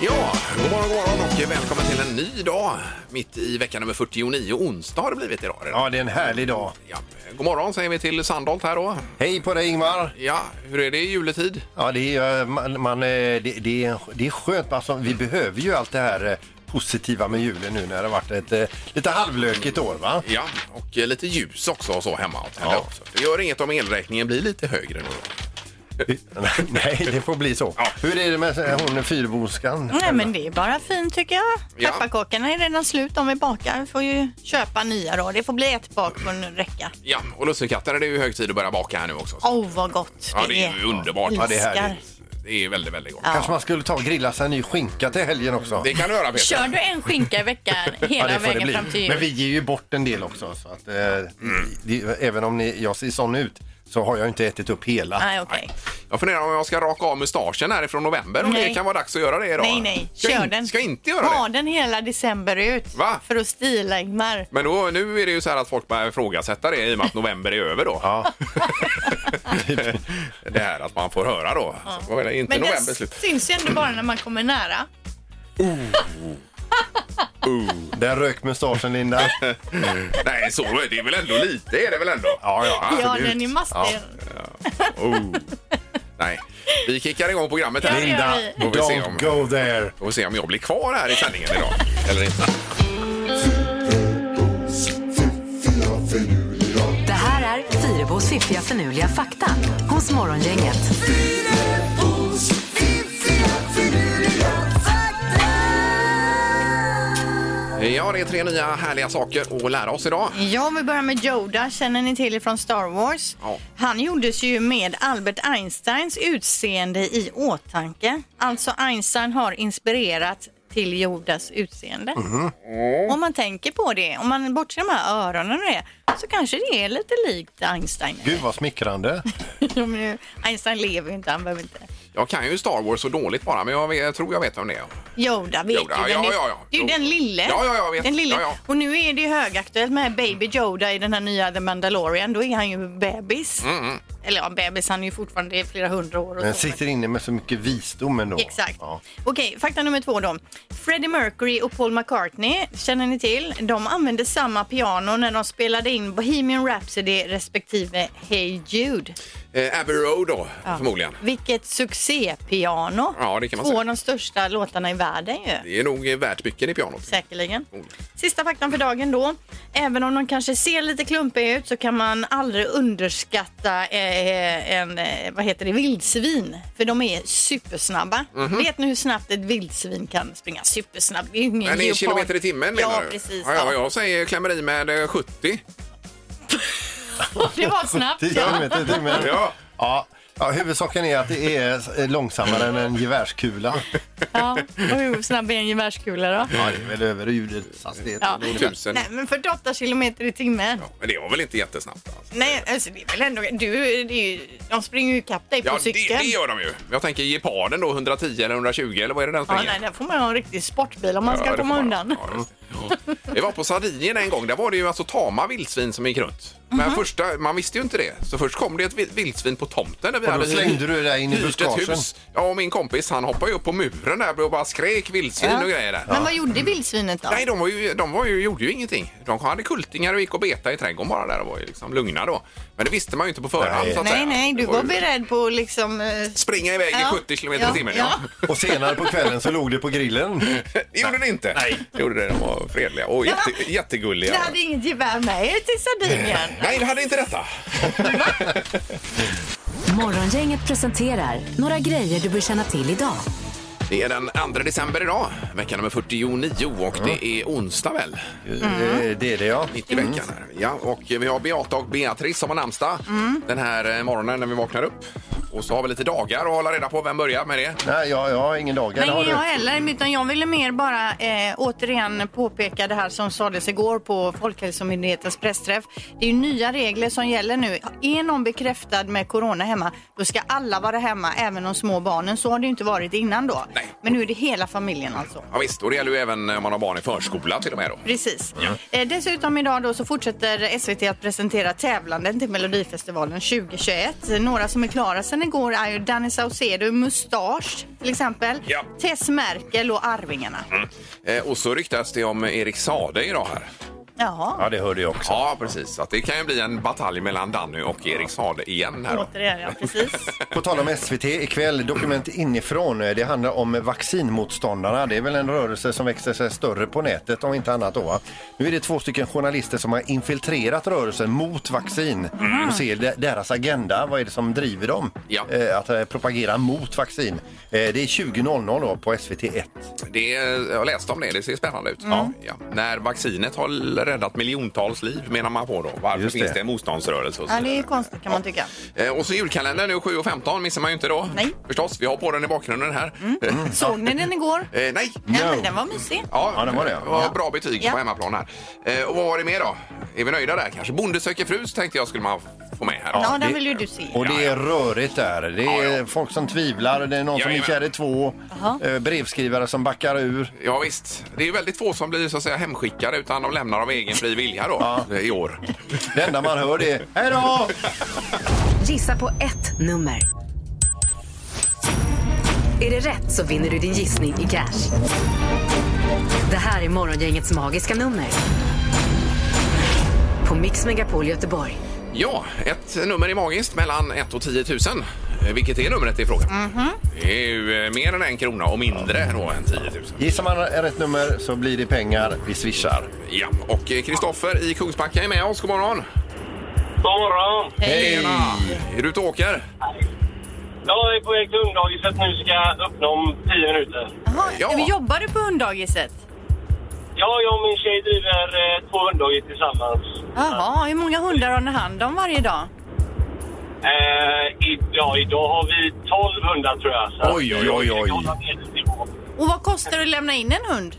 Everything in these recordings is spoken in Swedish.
Ja, god morgon, god morgon och välkommen till en ny dag mitt i vecka nummer 49. Onsdag har det blivit idag. redan. Ja, det är en härlig dag. Ja. God morgon säger vi till Sandholt här då. Hej på dig Ingmar! Ja, hur är det i juletid? Ja, det är, eh, man, man, eh, det, det, är, det är skönt. Alltså, vi behöver ju allt det här eh, positiva med julen nu när det har varit ett eh, lite halvlökigt år. Va? Ja, och eh, lite ljus också och så hemma. Och tända Ja. också. Det gör inget om elräkningen blir lite högre nu. Nej, det får bli så. Ja. Hur är det med eh, hon fyrboskan? Nej men det är bara fint tycker jag. Ja. Pepparkakorna är redan slut, de vi bakar. Vi får ju köpa nya då. Det får bli ett bak på en räcka. Ja, och lussekatter är det ju hög tid att börja baka här nu också. Åh oh, vad gott Ja, det är ju underbart. Ja, det är Älskar. härligt. Det är väldigt, väldigt gott. Kanske man skulle ta och grilla sig en ny skinka till helgen också. Det kan du göra Peter. Kör du en skinka i veckan hela det får det vägen bli. fram till Men jul? vi ger ju bort en del också. Så att, eh, Mm. det, även om ni, jag ser sån ut så har jag inte ätit upp hela. Nej okej. Jag funderar om jag ska raka av mustaschen här ifrån november. Om Nej. det kan vara dags att göra det idag. Nej nej, Ska kör in- den. Ska inte göra det. Ha den hela december ut. Va? För att stila Ingmar. Men då, nu är det ju så här att folk börjar ifrågasätta det i och med att november är över då. Ja. det här att man får höra då. Så var det Inte Men november det slut. syns ju ändå bara när man kommer nära. Där rök mustaschen Linda. Nej, så är det väl ändå lite är det väl ändå? Ja, ja, Ja, absolut. den är mastig. Ja. Oh. Nej, vi kickar igång programmet här. Ja, det gör Linda, vi. Får vi se om- don't go there. Får vi se om jag blir kvar här i sändningen idag. Eller inte. Det här är Fyrebos fiffiga förnuliga fakta hos Morgongänget. Ja, det är tre nya härliga saker att lära oss idag. Ja, vi börjar med Yoda, känner ni till från Star Wars. Ja. Han gjordes ju med Albert Einsteins utseende i åtanke. Alltså Einstein har inspirerat till Yodas utseende. Om man tänker på det, om man bortser de här öronen och det, så kanske det är lite likt Einstein. Gud vad smickrande. Men nu, Einstein lever ju inte, han behöver inte. Jag kan ju Star Wars så dåligt bara, men jag, vet, jag tror jag vet om det är. Yoda vet Yoda, du ja, vem det är. ja, ja. Det är Jo. ju den lille. Ja, ja, jag vet. Den lille. Ja, ja. Och nu är det ju högaktuellt med Baby Yoda i den här nya The Mandalorian. Då är han ju bebis. Mm, Eller ja, bebis. Han är ju fortfarande flera hundra år. Och Den så. sitter inne med så mycket visdom ändå. Exakt. Ja. Okej, fakta nummer två då. Freddie Mercury och Paul McCartney känner ni till. De använde samma piano när de spelade in Bohemian Rhapsody respektive Hey Jude. Eh, Abbey Road då, förmodligen. Vilket succépiano. Ja, det kan man Två säga. av de största låtarna i världen ju. Det är nog eh, värt mycket i pianot. Säkerligen. Mm. Sista faktan för dagen då. Även om de kanske ser lite klumpiga ut så kan man aldrig underskatta eh, en, eh, vad heter det, vildsvin. För de är supersnabba. Mhm. Vet ni hur snabbt ett vildsvin kan springa? Supersnabbt. Det är ju ingen Men i leopard. kilometer i timmen menar Ja, du? precis. Ja, ja, jag säger klämmer i med eh, 70. Det var snabbt. Tio ja. kilometer i timmen. Ja. Ja. Ja, huvudsaken är att det är långsammare än en gevärskula. ja. Och hur snabb är en gevärskula då? Ja, det är väl över ljudets hastighet. Ja. Tusen. Nej, men 48 kilometer i timmen. Men det var väl inte jättesnabbt? Alltså. Nej, alltså det är väl ändå... Du, det är ju, de springer ju ikapp dig på Ja, det, cykeln. det gör de ju. Men Jag tänker geparden då, 110 eller 120 eller vad är det den Ja, springer? nej, där får man ha en riktig sportbil om man Ja, ska det komma får man. undan. Ja, just det. Ja. Vi var på Sardinien en gång. Där var det ju alltså tama vildsvin som gick runt. Men Mhm. första, man visste ju inte det. Så först kom det ett vi- vildsvin på tomten. Där vi Och då slängde du det där in i hyrt ett buskagen. hus. Ja, och min kompis han hoppade ju upp på muren där och bara skrek vildsvin och grejer där. Men vad gjorde vildsvinet då? Nej, de, var ju, de var ju, gjorde ju ingenting. De hade kultingar och gick och betade i trädgården bara där och var ju liksom lugna då. Men det visste man ju inte på förhand Nej. så att nej, säga. nej, du Det var, ju- beredd på liksom... eh, Springa iväg Ja, i 70 km i ja, timmen, ja. Och senare på kvällen så låg det på grillen. Mm. Det gjorde det inte. Nej. Det gjorde det. De var fredliga och jätte, jättegulliga. Det hade inget gevär med er till Sardinien. Nej, det hade inte detta. Morgongänget presenterar några grejer du bör känna till idag. Det är den 2 december idag, vecka nummer 49 och det är onsdag väl? Eh, Mm. Det är det ja. Mitt i veckan Mm. här. Ja, och vi har Beata och Beatrice som har namnsdag den här eh, morgonen när vi vaknar upp. Och så har vi lite dagar att hålla reda på. Vem börjar med det? Nej, jag, jag har ingen dag. Eller Nej, har ingen du? jag heller. Utan jag ville mer bara eh, återigen påpeka det här som sades igår på Folkhälsomyndighetens pressträff. Det är ju nya regler som gäller nu. Är någon bekräftad med corona hemma, då ska alla vara hemma, även de små barnen. Så har det ju inte varit innan då. Nej. Men nu är det hela familjen alltså. Ja, visst, och det gäller ju även om man har barn i förskola till och med då. Precis. Eh, dessutom idag då så fortsätter SVT att presentera tävlanden till Melodifestivalen 2021. Några som är klara sedan igår är ju Danny Saucedo i Mustasch till exempel. Ja. Tess Merkel och Arvingarna. Eh, och så ryktas det om Erik Sade idag här. Jaha. Ja, det hörde jag också. Ja, precis. Så Att det kan ju bli en batalj mellan Danny och Erik Sade igen här då. Återigen, ja. Precis. På tal om SVT ikväll, Dokument inifrån. Det handlar om vaccinmotståndarna. Det är väl en rörelse som växer sig större på nätet om inte annat då. va? Nu är det två stycken journalister som har infiltrerat rörelsen mot vaccin och ser de- deras agenda. Vad är det som driver dem Ja. eh, att eh, propagera mot vaccin? Eh, det är 20.00 då på SVT1. Det, jag läste om det, det ser spännande ut. Ja. När vaccinet har räddat miljontals liv menar man på då. Varför Just det. finns det en motståndsrörelse? Och så Ja, det är vidare? ju konstigt kan man tycka. Eh, Och så julkalendern nu 7.15 missar man ju inte då. Nej. Förstås, vi har på den i bakgrunden här. Såg ni den igår? Eh, nej! Ja, men den var mysig. Ja, Ja, det var det, ja. var Bra betyg Ja. på hemmaplan här. Eh, och vad var det mer då? Är vi nöjda där kanske? Bonde söker frus tänkte jag skulle man få med här. Ja, det- den vill ju du se. Och det är rörigt där. Det är Ja, ja. folk som tvivlar, det är någon som är Jajamän. kär i två, eh, brevskrivare som backar ur. Ja, visst. Det är ju väldigt få som blir så att säga hemskickade utan de lämnar av egen fri vilja då eh, i år. Det enda man hör det är hej då! Gissa på ett nummer. Är det rätt så vinner du din gissning i cash. Det här är Morgongängets magiska nummer. På Mix Megapol Göteborg. Ja, ett nummer är magiskt mellan 1 och 10 000. Eh, Vilket är numret i frågan? Mhm. Det är ju eh, mer än en krona och mindre då än 10 000. Gissar man rätt nummer så blir det pengar. Vi swishar. Ja, och eh, Kristoffer i Kungsbacka är med oss. God morgon! God morgon! Hej! Är du ute och åker? Jag är på väg till hunddagiset nu, ska jag öppna om 10 minuter. Jaha, Ja. men Jobbar du på hunddagiset? Ja, jag och min tjej driver eh, två hunddagis tillsammans. Jaha, hur många hundar har ni hand om varje dag? Eh, idag, idag har vi 12 hundar tror jag. Så Oj, oj, oj, oj. jag håller medelnivå. Och vad kostar det att lämna in en hund?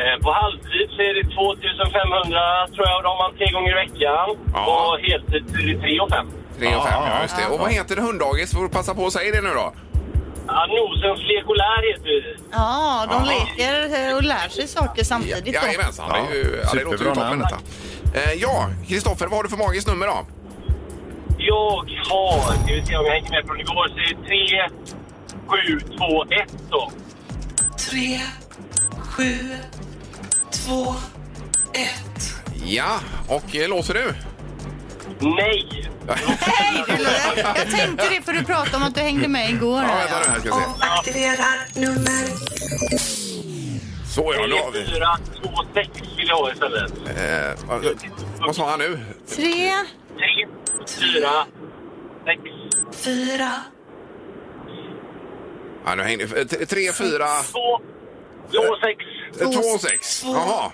Eh, på halvtid så är det 2500 tror jag, och de har man tre gånger i veckan. Ja. Och heltid så är det 3 och 5. 3 och 5, Ja, ja, just det. Och vad heter det hunddagis? Får du passa på att säga det nu då? Ja, Nosens lekolär heter vi. Ja, de Jaha. leker eh, och lär sig saker samtidigt. då. Jajamensan, det, är ju, ja, Ja, det låter ju superbra toppen namn. detta. Eh, ja, Kristoffer, vad har du för magiskt nummer då? Jag har, ska vi se om jag hänger med från igår, så är det 3, 7, 2, 1 då. Tre, sju, två, ett. Ja, och eh, låser du? Nej! Hej, du lät- Jag tänkte det för du pratade om att du hängde med igår. Ja, här, vänta nu ja. här ska jag se. Aktiverar nummer... Så ja, då har vi. 4, 2, 6 vill jag ha istället. Eh, vad- vad sa han nu? Tre, 3, 4, 6. Fyra. Ja, nu hängde, eh, t- tre, 2, fyra, 2, 6. eh, två och sex. Jaha.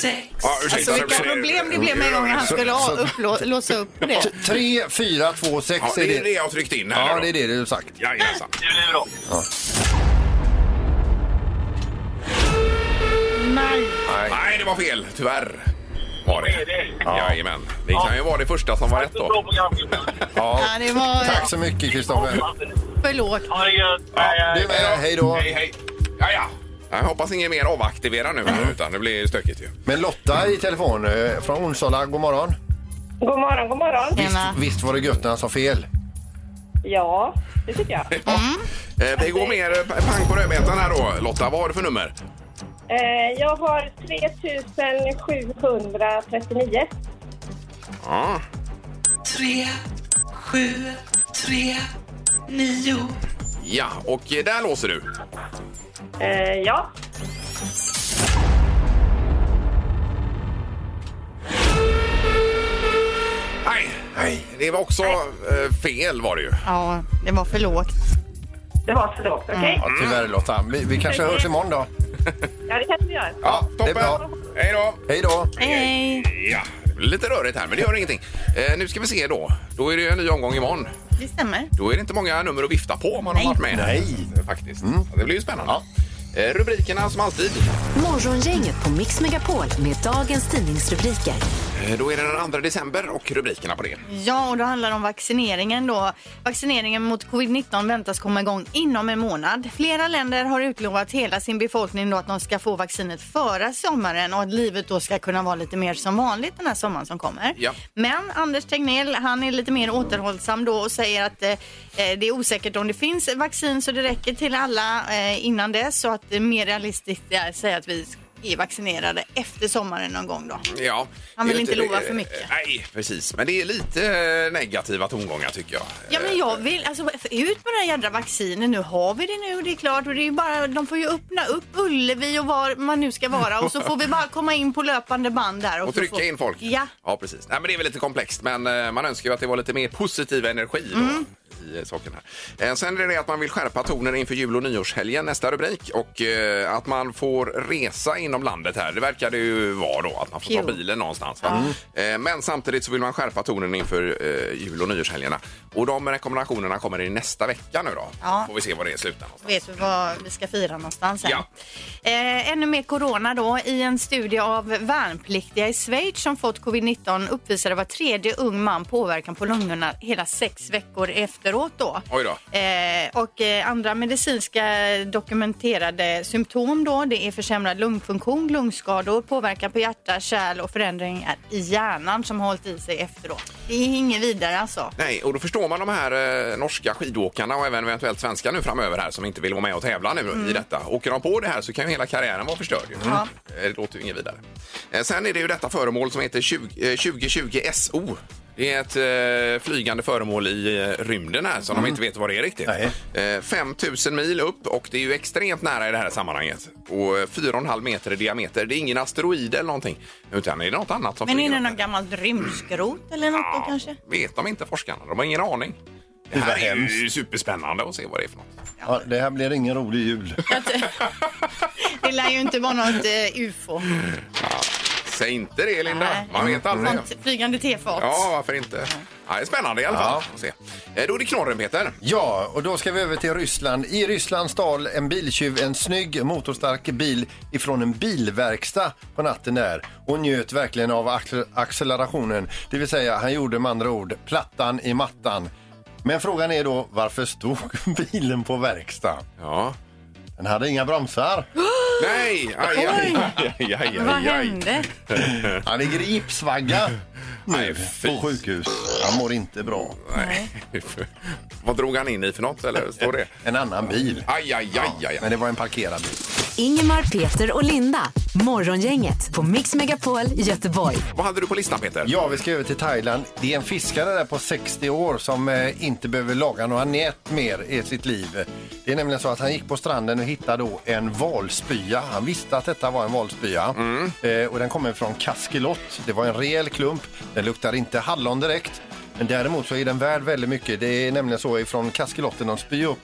Sex. Ja, ursäkta, alltså det vilka blir- problem det blev med en gång när han Så- skulle ha- så- upplå- låsa upp det. 3, 4, 2, 6 Ja, det är det jag har tryckt in här Ja, nu då. det är det du har sagt. Jajamensan. Det blir bra. Nej. Nej, det var fel. Tyvärr. Var Är det. det? Jajamän. Det kan ju vara det första som var rätt Så bra då. program. Ja, det var Tack så mycket Kristoffer. för lågt. Ha det gött. Du med, hej då. Hej, hej. Ja, ja. Jag hoppas ingen mer avaktiverar nu, här, utan det blir stökigt ju. Eh, Men Lotta i telefon eh, från Onsala, god morgon. God morgon, god morgon. Visst, Tjena. visst var det gött när han sa fel? Ja, det tycker jag. Eh, Vi går mer eh, pang på rödbetan här då. Lotta, vad har du för nummer? Eh, jag har 3739. Ja. Tre, sju, tre, nio. Ja, och eh, där låser du. Eh, ja, Nej, nej. Det var också eh, fel var det ju. Ja, det var för lågt. det var så lågt. Okej? Mm. Ja, tyvärr Lotta. Vi, vi kanske hörs imorgon då. Ja, det kanske vi gör. Ja, det är toppen. bra. Hej då. Hej då. Hej. Ja, det blir lite rörigt här, men det gör ingenting. Eh, nu ska vi se då. Då är det ju en ny omgång imorgon. det stämmer. Då är det inte många nummer att vifta på om man har Nej. varit med. Eh, Nej. Mm. Faktiskt. Så Det blir ju spännande. Eh, Rubrikerna som alltid. Morgongänget på Mix Megapol med dagens tidningsrubriker. Eh, Då är det den 2 december och rubrikerna på det. Ja, och då handlar det om vaccineringen då. Vaccineringen mot covid-19 väntas komma igång inom en månad. Flera länder har utlovat hela sin befolkning då att de ska få vaccinet före sommaren och att livet då ska kunna vara lite mer som vanligt den här sommaren som kommer. Ja. Men Anders Tegnell, han är lite mer återhållsam då och säger att eh, eh, det är osäkert om det finns vaccin så det räcker till alla eh, innan dess så att det är mer realistiskt är att säga att vi är vaccinerade efter sommaren någon gång då. Ja. Han vill Det är inte lova för mycket. eh, Nej, precis. Men det är lite eh, negativa tongångar tycker jag. Ja men jag vill, alltså ut med det här jädra vaccinet nu. Har vi det nu, det är klart. Och det är ju bara, de får ju öppna upp Ullevi och var man nu ska vara och så får vi bara komma in på löpande band där. Och så trycka får- in folk. Ja. ja, precis. Nej, men det är väl lite komplext, men eh, man önskar ju att det var lite mer positiv energi då, Mm. i eh, saken här. Eh, Sen är det att man vill skärpa tonen inför jul och nyårshelgen, nästa rubrik. Och eh, att man får resa inom landet här. Det verkar det ju vara då, att man får ta Kul. bilen någonstans. va? Eh, Men samtidigt så vill man skärpa tonen inför eh, jul och nyårshelgerna. Och de rekommendationerna kommer i nästa vecka nu då. Ja. Får vi se vad det är i slutändan. någonstans. vet vi vad vi ska fira någonstans. Sen. Ja. Eh, ännu mer corona då. I en studie av värnpliktiga i Schweiz som fått covid-19 uppvisade var tredje ung man påverkan på lungorna hela sex veckor efteråt då. Oj då. Eh, och eh, andra medicinska dokumenterade symptom då, det är försämrad lungfunktion, lungskador, påverkan på hjärta, kärl och förändringar i hjärnan som har hållit i sig efteråt. Det är inget vidare alltså. Nej, och då förstår man de här eh, norska skidåkarna och även eventuellt svenska nu framöver här som inte vill vara med och tävla nu i detta. Åker de på det här så kan ju hela karriären vara förstörd. ju. Ja. Eh, Det låter ju inget vidare. Eh, Sen är det ju detta föremål som heter 20, eh, 2020 SO. Det är ett eh, flygande föremål i eh, rymden här som de inte vet vad det är riktigt. Eh, 5000 mil upp och det är ju extremt nära i det här sammanhanget. Och eh, 4,5 meter i diameter. Det är ingen asteroid eller någonting utan det är något annat som Men är flyger det upp något gammalt rymdskrot eller något då kanske? vet de inte forskarna. De har ingen aning. Det vad här är ju hemskt. superspännande att se vad det är för något. Ja, det här blir ingen rolig jul. Det lär ju inte vara något eh, ufo. Säg inte det, Linda. Nej. Mm. Man vet aldrig. Sånt flygande tefat. Ja, varför inte? Ja, det är spännande i alla fall. Att se. Eh, Då är det knorren, Peter. Ja, och då ska vi över till Ryssland. I Ryssland stal en biltjuv en snygg motorstark bil ifrån en bilverkstad på natten där och njöt verkligen av accel- accelerationen. Det vill säga, han gjorde med andra ord plattan i mattan. Men frågan är då, varför stod bilen på verkstad? Ja. Den hade inga bromsar. Nej! Aj, aj, aj, aj, aj, Vad aj, aj. hände? Han ligger i gipsvagga Nej, nu fy. på sjukhus. Han mår inte bra. Vad drog han in i för något? Eller står det? En annan bil. Aj, aj, aj, aj. Men aj. det var en parkerad bil. Ingemar, Peter och Linda. Morgongänget på Mix Megapol Göteborg. Vad hade du på listan, Peter? Ja, vi ska över till Thailand. Det är en fiskare där på 60 år som eh, inte behöver laga några nät mer i sitt liv. Det är nämligen så att han gick på stranden och hittade då en valspya. Han visste att detta var en valspya. Eh, och den kommer från Kaskelot. Det var en rejäl klump. Den luktar inte hallon direkt. Men däremot så är den värd väldigt mycket. Det är nämligen så ifrån Kaskelotten de spyr upp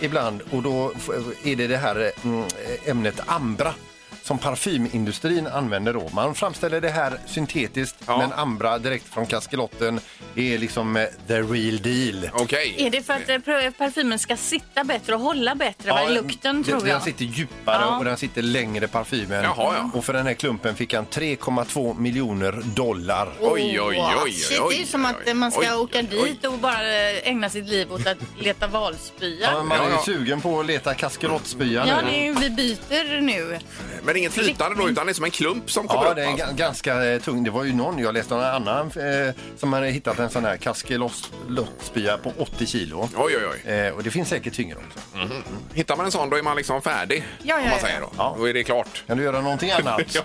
ibland och då f- är det det här eh, mm, ämnet Ambra som parfymindustrin använder då. Man framställer det här syntetiskt Ja. men Ambra direkt från kaskelotten är liksom eh, the real deal. Okej. Är det för att eh, pr- parfymen ska sitta bättre och hålla bättre? va? I lukten den, tror Den jag. sitter djupare Ja. och den sitter längre parfymen. Jaha, ja. Och för den här klumpen fick han 3,2 miljoner dollar. Oj, oj, oj, oj, oj. Shit, det är ju som oj, att eh, man ska oj, oj, åka oj. dit och bara eh, ägna sitt liv åt att leta valspya. Ja, Ja, man är ju Ja, ja. sugen på att leta kaskelottspya nu. det är, ju- vi byter nu. Men inget flytande då, utan det är som en klump som kommer Ja, upp? det är alltså. ga- ganska eh, tung. Det var ju någon, jag läste någon annan eh, som hade hittat en sån här kaskelottspya på 80 kilo. Oj, oj, oj. Eh, och det finns säkert tyngre också. Hittar man en sån då är man liksom färdig. Ja, om ja, man ja. säger då. Ja. då är det klart. Kan du göra någonting annat? Ja.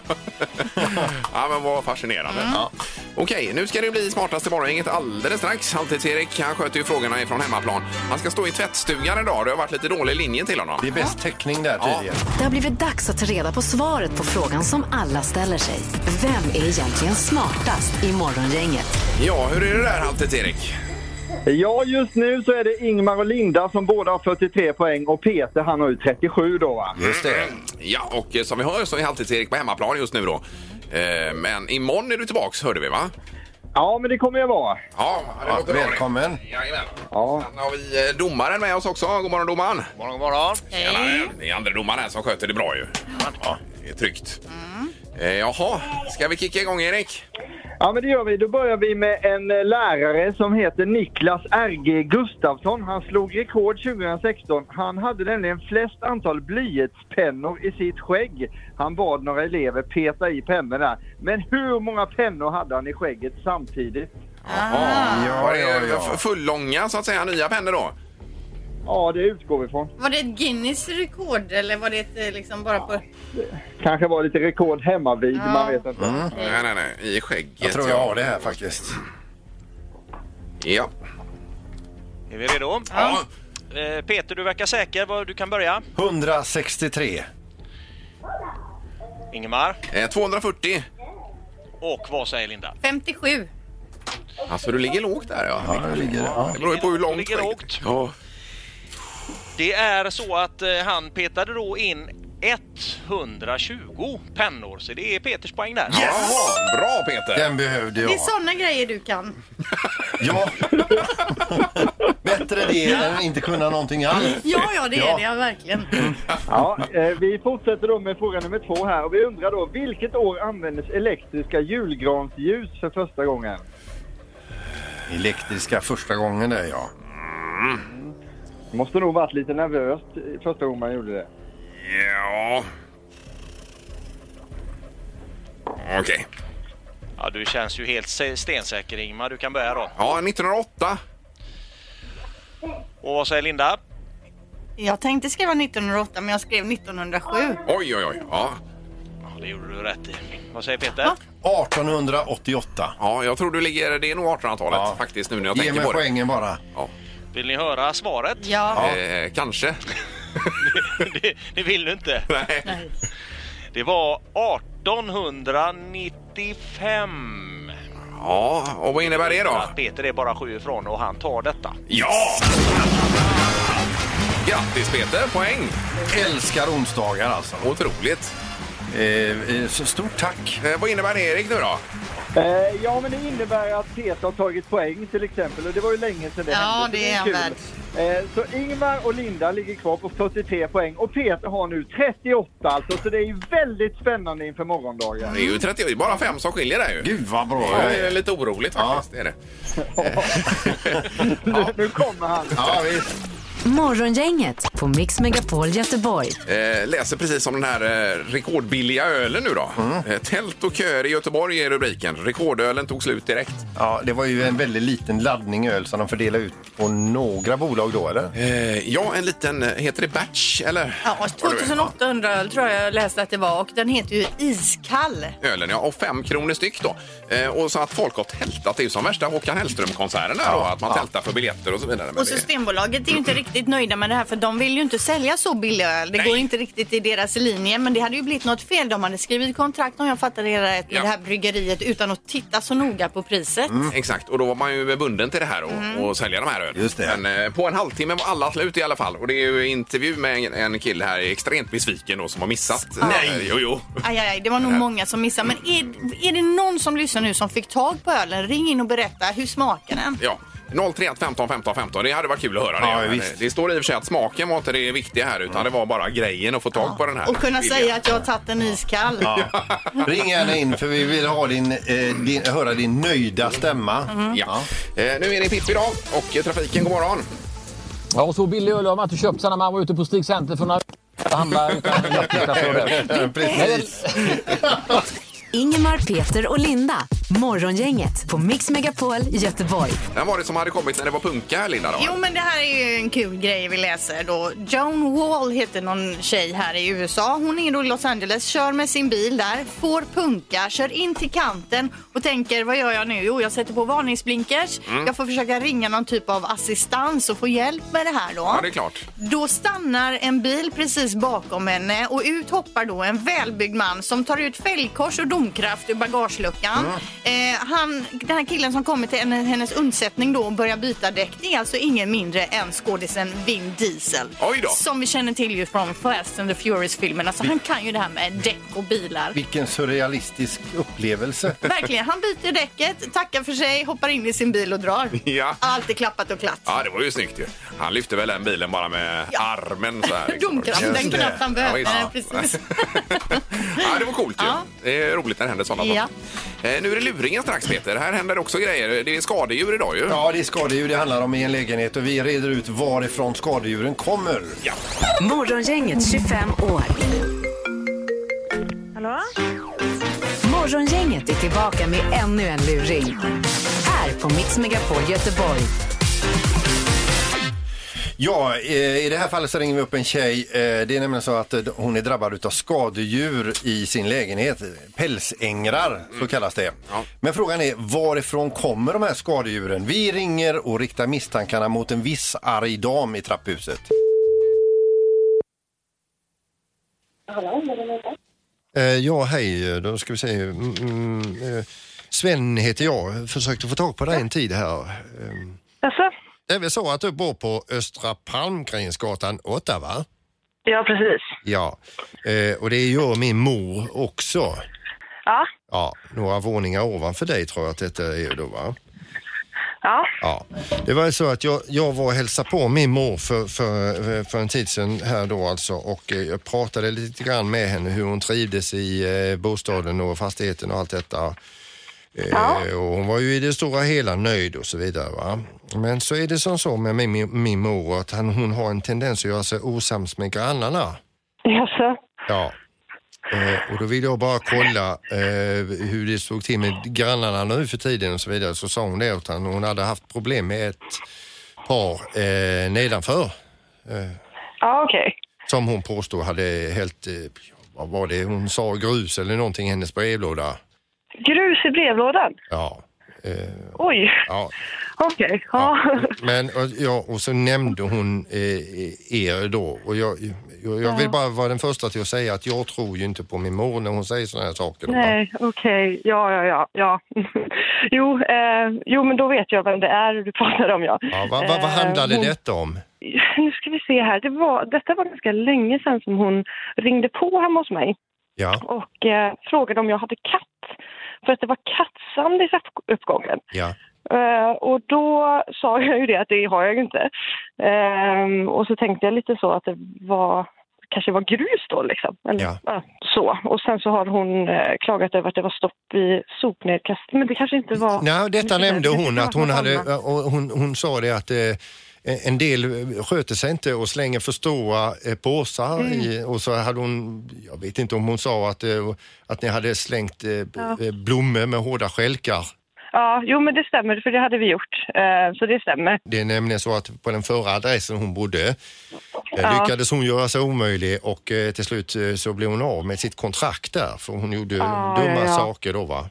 ja, men vad fascinerande. Mm. Ja. Okej, nu ska det bli smartaste morgongänget alldeles strax. Halvtids-Erik, han sköter ju frågorna ifrån hemmaplan. Han ska stå i tvättstugan idag. Det har varit lite dålig linje till honom. Det är bäst täckning där Ja. tydligen. Det har blivit dags att ta reda på svaret på frågan som alla ställer sig. Vem är egentligen smartast i Morgongänget? Ja, hur är det där Halvtids-Erik? Ja, just nu så är det Ingmar och Linda som båda har 43 poäng och Peter han har ju 37 då va. Just det. Ja, och eh, som vi hör så är Halvtids-Erik på hemmaplan just nu då. Eh, Men imorgon är du tillbaks, hörde vi va? Ja, men det kommer jag vara. Ja, det låter bra. Välkommen. Jajamän. Ja. Sen har vi eh, domaren med oss också. God morgon domaren. morgon, god morgon. Tjenare. Det är andra domaren här som sköter det bra ju. Ja, det är tryggt. Eh, jaha, ska vi kicka igång Erik? Ja, men det gör vi. Då börjar vi med en eh, lärare som heter Niklas R.G. Gustafsson. Han slog rekord 2016. Han hade nämligen flest antal blyertspennor i sitt skägg. Han bad några elever peta i pennorna. Men hur många pennor hade han i skägget samtidigt? Var det eh, f- fullånga så att säga, nya pennor då? Mm. Ja, det utgår vi från. Var det ett Guinness rekord eller var det ett, eh, liksom bara på... Kanske var lite rekord hemmavid, Ja. man vet inte. Nej, nej, nej. I skägget. Jag tror jag har det här faktiskt. Ja. Är vi redo? ja. Eh, Peter, du verkar säker. Vad- Du kan börja. 163. Ingemar. Eh, 240. Och vad säger Linda? 57. Alltså du ligger lågt där ja. Ja, det ligger det. Ja. Det beror ju på hur långt Ligger lågt. skägget- Ja. Det är så att eh, han petade då in 120 pennor, så det är Peters poäng där. Jaha, bra Peter! Den behövde jag. Det är sådana grejer du kan. Ja. Bättre det än att inte kunna någonting alls. Ja, ja, det är Ja. det. Ja, verkligen. Ja, eh, vi fortsätter då med fråga nummer två här. Och vi undrar då, vilket år användes elektriska julgransljus för första gången? Elektriska första gången där ja. Det måste nog varit lite nervöst eh, första gången man gjorde det. Ja. Okej. Ja, du känns ju helt se- stensäker Ingemar. Du kan börja då. Ja, 1908. Och vad säger Linda? Jag tänkte skriva 1908 men jag skrev 1907. Oj, oj, oj. Ja, Ja, det gjorde du rätt i. Vad säger Peter? 1888. ja jag tror du ligger... Det är nog 1800-talet Ja. faktiskt nu när jag Ge tänker mig på det. poängen bara. Vill ni höra svaret? Ja. Eh, kanske. det, det vill du inte. Nej. Det var 1895. Ja, och vad innebär det då? Att Peter är bara sju ifrån och han tar detta. Ja! Grattis Peter, poäng! Älskar onsdagar alltså. Otroligt. Eh, eh, så stort tack. Eh, vad innebär det Erik nu då? Eh, ja, men det innebär att Peter har tagit poäng till exempel. Och det var ju länge sedan det Ja, hände. så det är kul. en värld. Eh, så Ingmar och Linda ligger kvar på 43 poäng. Och Peter har nu 38 alltså. Så det är ju väldigt spännande inför morgondagen. Det är ju 30, det är bara fem som skiljer där ju. Gud vad bra Ja, jag det är är. lite oroligt faktiskt. Det är det. Nu kommer han. Ja, visst. Morgongänget på Mix Megapol Göteborg. Eh, läser precis om den här eh, rekordbilliga ölen nu då. Mm. Eh, tält och köer i Göteborg är rubriken. Rekordölen tog slut direkt. ja, det var ju en väldigt liten laddning öl som de fördelade ut på några bolag då eller? Eh, ja, en liten, eh, heter det batch eller? Ja, Vad du vet. 2800 öl tror jag jag läste att det var och den heter ju Iskall. Ja, Ölen ja, och fem kronor styck då. Eh, och så att folk har tältat, det är ju som värsta Håkan Hellström-konserten där då, att man tältar för biljetter och så vidare. Men Och det, Systembolaget är ju inte riktigt nöjda med det här för de vill ju inte sälja så billig öl. Det Nej. går inte riktigt i deras linje men det hade ju blivit något fel. De hade skrivit kontrakt om jag fattar det rätt med Ja. Mm. det här bryggeriet utan att titta så noga på priset. Exakt, och då var man ju bunden till det här och, Mm. och sälja de här ölen. Just det. Men eh, på en halvtimme var alla slut i alla fall. Och det är ju intervju med en, en kille här, extremt besviken då, som har missat. Nej! Jo, jo. Aj, aj, aj, det var nog många som missade. Men är, är det någon som lyssnar nu som fick tag på ölen? Ring in och berätta. Hur smakar den? Ja. 031 15 15 15. Det hade varit kul att höra det. Ja, Men, visst. eh, Det står i och för sig att smaken var inte det viktiga här utan det var bara grejen att få tag på den här. Och kunna billiga. säga att jag har tagit en iskall. Ring gärna in för vi vill ha din, eh, din, höra din nöjda stämma. Ja. Eh, Nu är det Pippi idag och eh, trafiken, god morgon. Ja, och så billig öl har man inte köpt sen när man var ute på Stig Center från att handla utan att titta så där. Precis. Ingemar, Peter och Linda. Morgongänget på Mix Megapol Göteborg. Den var det som hade kommit när det var punka här Linda då? Jo, men det här är ju en kul grej vi läser då. Joan Wall heter någon tjej här i USA. Hon är då i Los Angeles, kör med sin bil där, får punka, kör in till kanten och tänker vad gör jag nu? Jo, jag sätter på varningsblinkers. Mm. Jag får försöka ringa någon typ av assistans och få hjälp med det här då. Ja, det är klart. Då stannar en bil precis bakom henne och ut hoppar då en välbyggd man som tar ut fälgkors och domkraft ur bagageluckan. Eh, han, den här killen som kommer till henne- hennes undsättning då och börjar byta däck det är alltså ingen mindre än skådisen Vin Diesel. Oj då. Som vi känner till ju från Fast and the Furious-filmerna. Alltså, han kan ju det här med däck och bilar. Vilken surrealistisk upplevelse. Verkligen. Han byter däcket, tackar för sig, hoppar in i sin bil och drar. Ja. Allt är klappat och klart. Ja, det var ju snyggt ju. Han lyfte väl den bilen bara med armen så här. liksom. Domkraft, den Just det. knappt han behövde. Ja, visst. precis. ja, det var coolt ju. Det är roligt när det händer sådana Ja. saker. Eh, Nu är det luringen strax Peter. Här händer också grejer. Det är skadedjur idag ju. Ja, det är skadedjur det handlar om i en lägenhet och vi reder ut varifrån skadedjuren kommer. Ja. Morgongänget 25 år. Hallå? Morgongänget är tillbaka med ännu en luring. Här på Mix Megapol Göteborg. Ja, eh, i det här fallet så ringer vi upp en tjej. Eh, Det är nämligen så att eh, hon är drabbad utav skadedjur i sin lägenhet. Pälsängrar, så kallas det. Men frågan är varifrån kommer de här skadedjuren? Vi ringer och riktar misstankarna mot en viss arg dam i trapphuset. Hallå? vad är det? Eh, Ja, hej. Då ska vi se. Mm, mm, eh, Sven heter jag. Försökte få tag på dig en tid här. Ehm, Jaså? Det är väl så att du bor på Östra Palmgrensgatan 8, va? Ja, precis. Ja. Eh, Och det är jag och min mor också. Ja, Ja, några våningar ovanför dig tror jag att detta är då, va? ja. Ja, det var ju så att jag, jag var och hälsade på min mor för, för, för en tid sedan här då alltså och eh, jag pratade lite grann med henne hur hon trivdes i eh, bostaden och fastigheten och allt detta. Eh, Och hon var ju i det stora hela nöjd och så vidare. Va? Men så är det som så med min, min, min mor att han, hon har en tendens att göra sig osams med grannarna. Jaså? Ja. Eh, och då ville jag bara kolla eh, hur det stod till med grannarna nu för tiden och så vidare. Så sa hon det att han- hon hade haft problem med ett par eh, nedanför. Eh, Ja, okej. som hon påstod hade hällt, eh, vad var det hon sa, grus eller någonting i hennes brevlåda. Grus i brevlådan? Ja. Eh, Oj. ja. Okej. Ja. Men och, ja, och så nämnde hon eh, er då och jag, jag, jag vill bara vara den första till att säga att jag tror ju inte på min mor när hon säger sådana här saker. då, va? Nej, okej. Ja, ja, ja. ja. jo, eh, jo, men då vet jag vem det är du pratar om, ja. Ja, vad, vad, vad Eh, handlade hon- detta om? Nu ska vi se här. Det var, detta var ganska länge sedan som hon ringde på hemma hos mig Ja, och eh, frågade om jag hade katt. För att det var kattsand i trapp- uppgången. ja. Eh, och då sa jag ju det att det har jag ju inte. Ehm, och så tänkte jag lite så att det var kanske var grus då liksom. Eller, Ja. ja, så. Och sen så har hon eh, klagat över att det var stopp i sopnedkast. Men det kanske inte var... Nej, detta det- nämnde det- det- hon det- att hon något hade, eh, annat. och hon, hon sa det att eh, en del sköter sig inte och slänger för stora eh, påsar Mm. i, och så hade hon, jag vet inte om hon sa att, eh, att ni hade slängt eh, b- Ja. eh, blommor med hårda stjälkar. Ja, jo men det stämmer för det hade vi gjort. Eh, så det stämmer. Det är nämligen så att på den förra adressen hon bodde eh, Ja. lyckades hon göra sig omöjlig och eh, till slut eh, så blev hon av med sitt kontrakt där för hon gjorde Ah, dumma ja, ja. saker då va.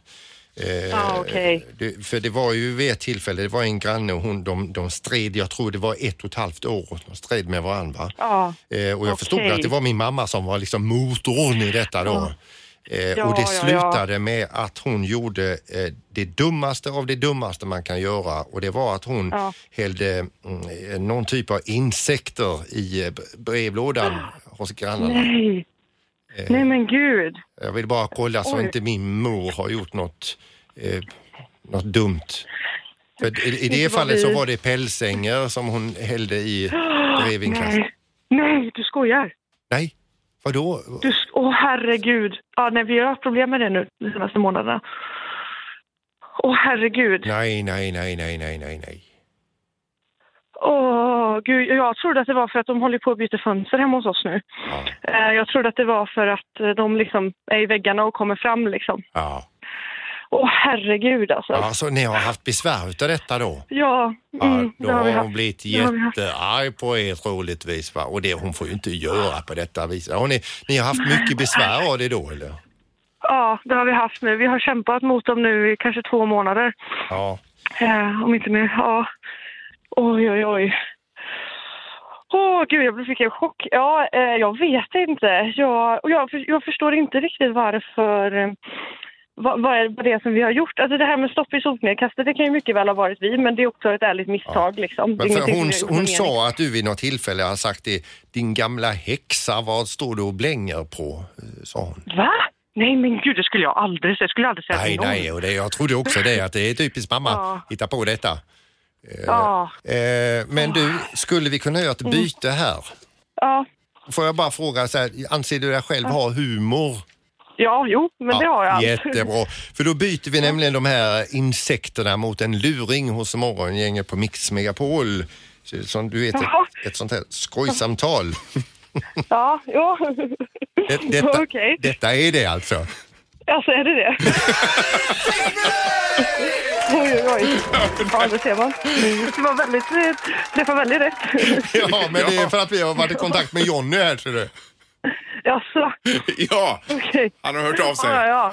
Eh, Ja, Ah, okej. det, för det var ju vid ett tillfälle, det var en granne och hon, de, de stred, jag tror det var ett och ett halvt år, de stred med varandra. Ja. Eh, och jag förstod Ah, Okej. Ah. att det var min mamma som var liksom motorn i detta då. Eh, Ja, och det ja, ja. slutade med att hon gjorde eh, det dummaste av det dummaste man kan göra och det var att hon Ja. hällde mm, eh, någon typ av insekter i eh, b- brevlådan Ah. hos grannarna. Nej. Nej men gud. Jag vill bara kolla så Oj. inte min mor har gjort något, eh, något dumt. För i, I Inte det vad fallet så vi- var det pälsänger som hon hällde i brevinkast. Nej. Nej, du skojar. Nej, vadå? Du, sk- åh herregud. Ja, nej, vi har haft problem med det nu de senaste månaderna. Åh herregud. Nej, nej, nej, nej, nej, nej, nej. Åh, gud. Jag trodde att det var för att de håller på att byta fönster hemma hos oss nu. Eh, Jag trodde att det var för att eh, de liksom är i väggarna och kommer fram liksom. Ja. Åh herregud alltså. Ja, så ni har haft besvär utav detta då? Ja, Ja, mm, då det har vi har hon haft. blivit Det har vi haft. jättearg på er troligtvis va? Och det, hon får ju inte göra på detta viset. Har ni, ni har haft mycket besvär av det då eller? Ja, det har vi haft nu. Vi har kämpat mot dem nu i kanske två månader. Ja. Eh, om inte mer. Ja. Oj, oj, oj. Åh, gud, jag fick en chock. Ja, eh, jag vet inte. Jag, och jag, för- jag förstår inte riktigt varför, eh, vad, vad är det som vi har gjort? Alltså det här med stopp i sopnedkastet, det kan ju mycket väl ha varit vi, men det är också ett ärligt misstag. Liksom. Det är Men för ingenting hon, som vi har gjort hon med mening. sa att du vid något tillfälle har sagt det. Din gamla häxa, vad står du och blänger på? Eh, Sa hon. Va? Nej men gud, det skulle jag aldrig säga. Det skulle jag aldrig säga Nej, till någon. nej, och det, jag trodde också det, att det är typiskt mamma Ja. hitta på detta. Eh, Ja. eh, men du, skulle vi kunna göra ett Mm. byte här? Ja. Får jag bara fråga, så här, anser du dig själv ha humor? Ja, jo, men det har jag. absolut. Jättebra, för då byter vi nämligen de här insekterna mot en luring hos morgongänget på Mix Megapol. Så- Som du vet, ett, Jaha. ett sånt här skojsamtal. Ja, jo. Det, detta, Okej. detta är det alltså. Alltså, är det det? oj, oj, oj. Ja, det ser man. Det var väldigt, eh, träffade väldigt rätt. Ja, men det är för att vi har varit i kontakt med Jonny här tror du. Jaså? Ja, Okej. han har hört av sig. Ja, ja.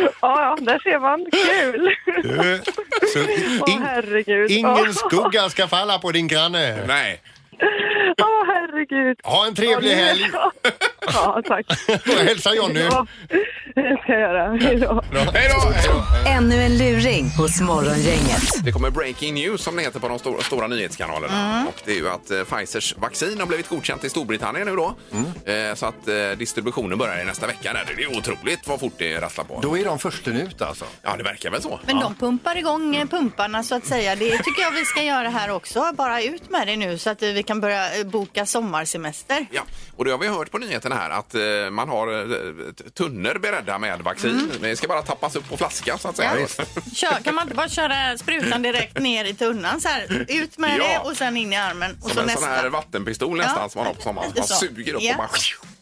ja, ja, där ser man. Kul! Du, Så Åh, in, herregud. Ja. ingen skugga ska falla på din granne. Nej. Åh, herregud. Ha en trevlig Ja, nu- helg. Ja, tack. Och hälsa Jonny. Ja, det ska jag göra. Hej då. Hej då! Hej då. Ännu en luring hos Morgongänget. Det kommer breaking news som det heter på de stora, stora nyhetskanalerna. Och det är ju att eh, Pfizers vaccin har blivit godkänt i Storbritannien nu då. Eh, så att eh, distributionen börjar i nästa vecka. Där. Det är otroligt vad fort det rasslar på. Då är de först ut alltså? Ja, det verkar väl så. Men ja. de pumpar igång eh, pumparna så att säga. Det tycker jag vi ska göra här också. Bara ut med det nu så att eh, vi kan börja eh, boka sommarsemester. Ja, och det har vi hört på nyheterna här att eh, man har eh, t- tunnor beredda med vaccin. Det ska bara tappas upp på flaska så att säga. Kör, kan man inte bara köra sprutan direkt ner i tunnan så här? Ut med Ja. det och sen in i armen Som och så en sån nästa. här vattenpistol nästan som man har på sommaren. lite Man så. suger upp Ja. och bara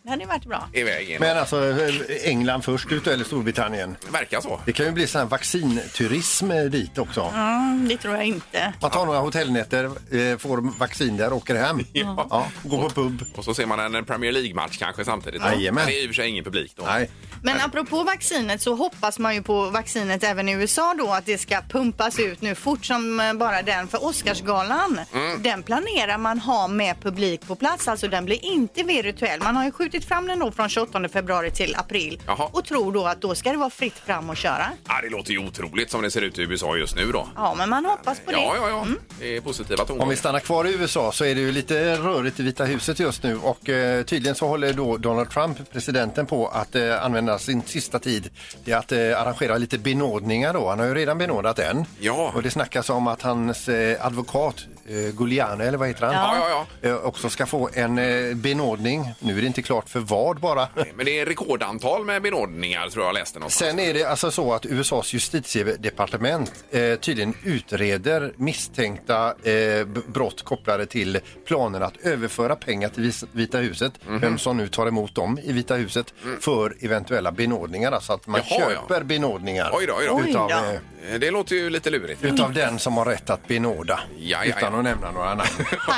Det hade ju varit bra. iväg in. Men alltså eh, England först ut eller Storbritannien? Verkar så. Det kan ju bli sån här vaccinturism eh, dit också. Mm, det tror jag inte. Man tar några hotellnätter, eh, får vaccin där och åker hem. Ja. Ja, går på pub. Och så ser man en Premier League-match kanske samtidigt. Jajamän. Men det är i och för sig ingen publik då. Nej. Men Äh. apropå vaccinet så hoppas man ju på vaccinet även i USA då att det ska pumpas ut nu fort som eh, bara den för Oscarsgalan. Mm. Den planerar man ha med publik på plats, alltså den blir inte virtuell. Man har ju skjutit fram den då från 28 februari till april Jaha. och tror då att då ska det vara fritt fram att köra. Ja, Ah, det låter ju otroligt som det ser ut i USA just nu då. Ja, men man hoppas på det. Mm. Ja, ja, ja. Det är positiva Om vi tongångar. stannar kvar i USA så är det ju lite rörigt i Vita huset just nu och eh, tydligen så håller då Donald Trump, presidenten, på att eh, använda sin sista tid till att eh, arrangera lite benådningar då. Han har ju redan benådat en. Ja. Och det snackas om att hans eh, advokat eh, Giuliano, eller vad heter han? Ja. Ja, Eh, också ska få en eh, benådning. Nu är det inte klart för vad bara. Men det är rekordantal med benådningar tror jag läste någonstans. Sen är det alltså så att USAs justitiedepartement eh, tydligen utreder misstänkta eh, b- brott kopplade till planerna att överföra pengar till Vis- Vita huset, Mhm. vem som nu tar emot dem i Vita huset, för eventuella benådningar. Alltså att man Mm. Jaha, ja. köper benådningar Oj då, oj då. Mm. Utav, eh, Det låter ju lite lurigt. utav den som har rätt att benåda, ja, ja. utan att nämna några namn.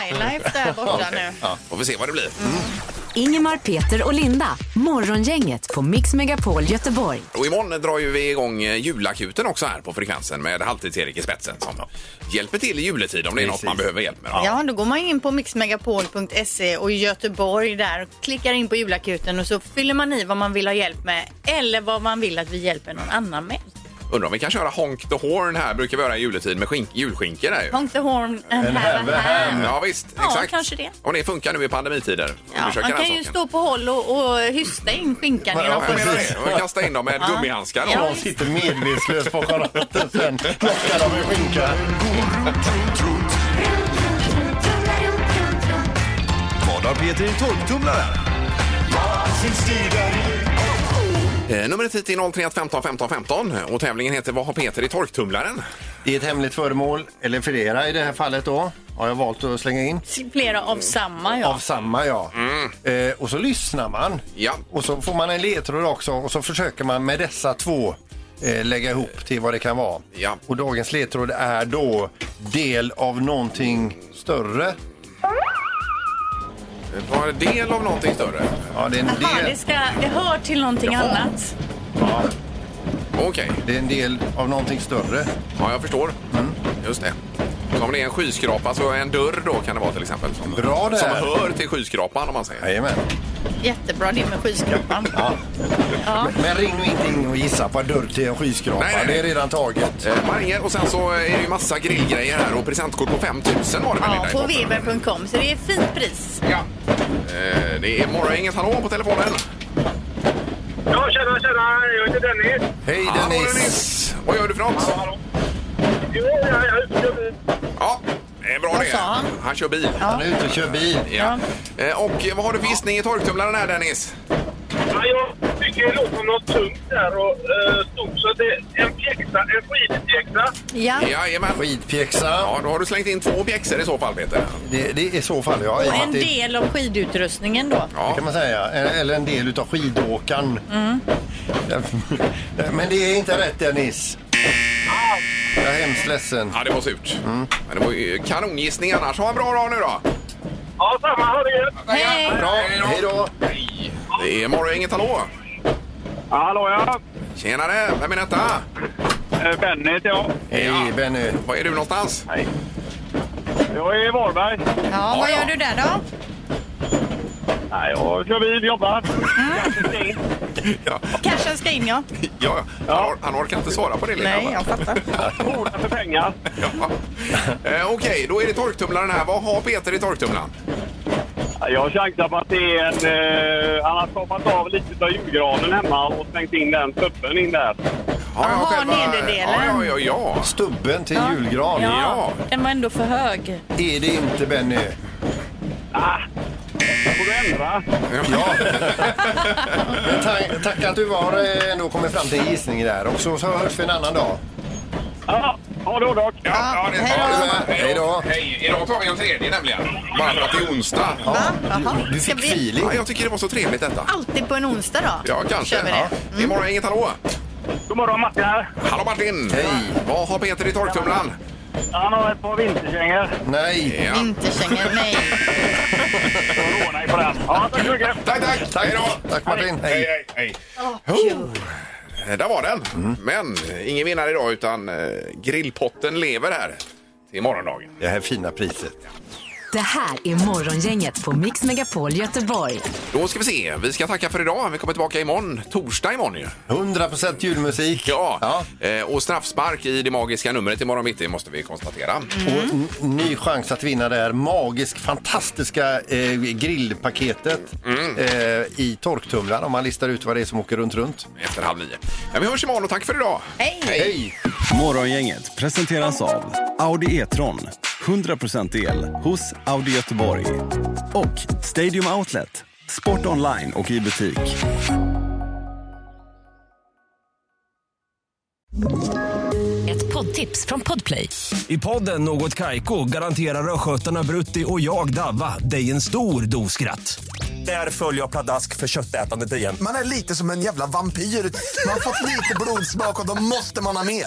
Highlife där borta nu. Ja. Får vi se vad det blir. Mm. Ingemar, Peter och Linda. Morgongänget på Mix Megapol Göteborg. Och imorgon drar ju vi igång eh, julakuten också här på frekvensen med Halvtids-Erik i spetsen som hjälper till i juletid om det är något man behöver hjälp med. då. Ja, då går man in på mixmegapol.se och Göteborg där och klickar in på julakuten och så fyller man i vad man vill ha hjälp med eller vad man vill att vi hjälper någon annan med. Undrar om vi kan köra Honk the Horn här, brukar vi göra i juletid med skink- julskinka där ju. Honk the horn and have a ham. Ja visst, Ja, exakt. kanske det. Och det funkar nu i pandemitider. Ja, Försöker man den kan ju saken. stå på håll och, och hysta in skinkan Ja, genom jag menar fönstret. det. Och kasta in dem med Ja. gummihandskar. då. Ja, De sitter medvetslös på charlotten sen knockar de med skinka. Vad har Peter i torktumlaren? Eh, Numret hit är 031 15 15 15 och tävlingen heter Vad har Peter i torktumlaren? Det är ett hemligt föremål, eller flera i det här fallet då, har jag valt att slänga in. Flera av samma, ja. Av samma, ja. Eh, och så lyssnar man. Och så får man en ledtråd också och så försöker man med dessa två eh, lägga ihop till vad det kan vara. Och dagens ledtråd är då del av någonting större. Var del av någonting större? Ja, det är en Jaha, del. det, ska, det hör till någonting annat. Ja. Okej. Det är en del av någonting större. Ja, jag förstår. Just det. Så om det är en skyskrapa så en dörr då kan det vara till exempel. Som, Bra där. Som hör till skyskrapan om man säger. Jajamän. jättebra det med skyskrapan. Ja. Ja. Men ring nu inte in och gissa på en dörr till en skyskrapa. Nej, nej, nej. Det är redan taget. Eh, man ringer och sen så är det ju massa grillgrejer här och presentkort på 5000 var det väl Ja, Linda, i på botten? weber.com. Så det är fint pris. Eh, Det är morgongänget, hallå på telefonen. Ja, tjena, tjena! Jag heter Dennis. Hej Dennis! Vad gör du för något? Jo, jag är ute och kör Ja, det är bra det. Han? kör bil. Han är ute och kör bil. Ja. Eh, Och eh, vad har du för gissning i torktumlaren här Dennis? Ja, jag tycker det låter som något tungt där och eh, stort. Så det är en pjäxa, en skidpjäxa. Jajamän. Skidpjäxa. Ja, då har du slängt in två pjäxor i så fall Peter. Det, det är i så fall, ja. i och Och med en att det- del av skidutrustningen då. Det kan man säga. En- Eller en del utav skidåkaren. Mm. Men det är inte rätt Dennis. Jag är hemskt ledsen. Ja, det var surt. Men det var ju kanongissning annars. Ha en bra dag nu då. Ja, samma. Ha det gött! Hej! Bra, hej då. Det är morgongänget, hallå. Hallå ja! Eh, Tjenare, vem är detta? Benny heter jag. Hej Benny. Var är du någonstans? Hej. Jag är i Varberg. Ja, vad gör du där då? Nej, jag kör bil, jobbar. Mm. Cashen ska in ja. Ja, han, or- han orkar inte svara på det Linda. Nej, jag fattar. Ordnar för pengar. Ja. Eh, Okej, då är det torktumlaren här. Vad har Peter i torktumlaren? Ja, Jag chansar på att det är en... Eh, han har skapat av lite av julgranen hemma och slängt in den tuppen in där. Jaha, nederdelen. Ja, ja, ja. Stubben till julgran. Ja, den var ändå för hög. Är det inte Benny? Får du ändra? Ja. Men tack, tack att du var eh, ändå kommit fram till en gissning där. Och så, så hörs vi en annan dag. Ja, ha det dock. Ja, ja, det Hej då. Hej då. Hej, idag tar vi en tredje nämligen. Bara för att det är onsdag. Ja. Jaha. Ska vi Ja, jag tycker det var så trevligt detta. alltid på en onsdag då? Ja, kanske. Kör vi Ja. det. Mm. Det är morgon, inget hallå. God morgon, Martin här. Hallå Martin! Hej! Vad har Peter i torktumlaren? Han har ett par vinterkängor. Nej! Ja. Mm. Vinterkängor, nej. Nej, på den. Ja, tack så mycket. Tack, tack! Tack, Hej då! tack Martin. Hej, Hej. hej, hej! Eh, Där var den! Men eh, ingen vinnare idag utan eh, grillpotten lever här till morgondagen. Det här fina priset. Det här är Morgongänget på Mix Megapol Göteborg. Då ska vi se. Vi ska tacka för idag. Vi kommer tillbaka imorgon. Torsdag imorgon ju. 100% julmusik. Ja. Eh, och straffspark i det magiska numret imorgon bitti måste vi konstatera. Och n- ny chans att vinna det här magisk, fantastiska eh, grillpaketet eh, i torktumlaren om man listar ut vad det är som åker runt runt. Efter halv nio. Ja, vi hörs imorgon och tack för idag. Hej! Morgongänget presenteras av Audi E-tron. 100% el hos Audi Göteborg. Och Stadium Outlet. Sport online och i butik. Ett poddtips från Podplay. I podden Något Kaiko garanterar östgötarna Brutti och jag, Davva, dig en stor dos skratt. Där följer jag pladask för köttätandet igen. Man är lite som en jävla vampyr. Man har fått lite blodsmak och då måste man ha mer.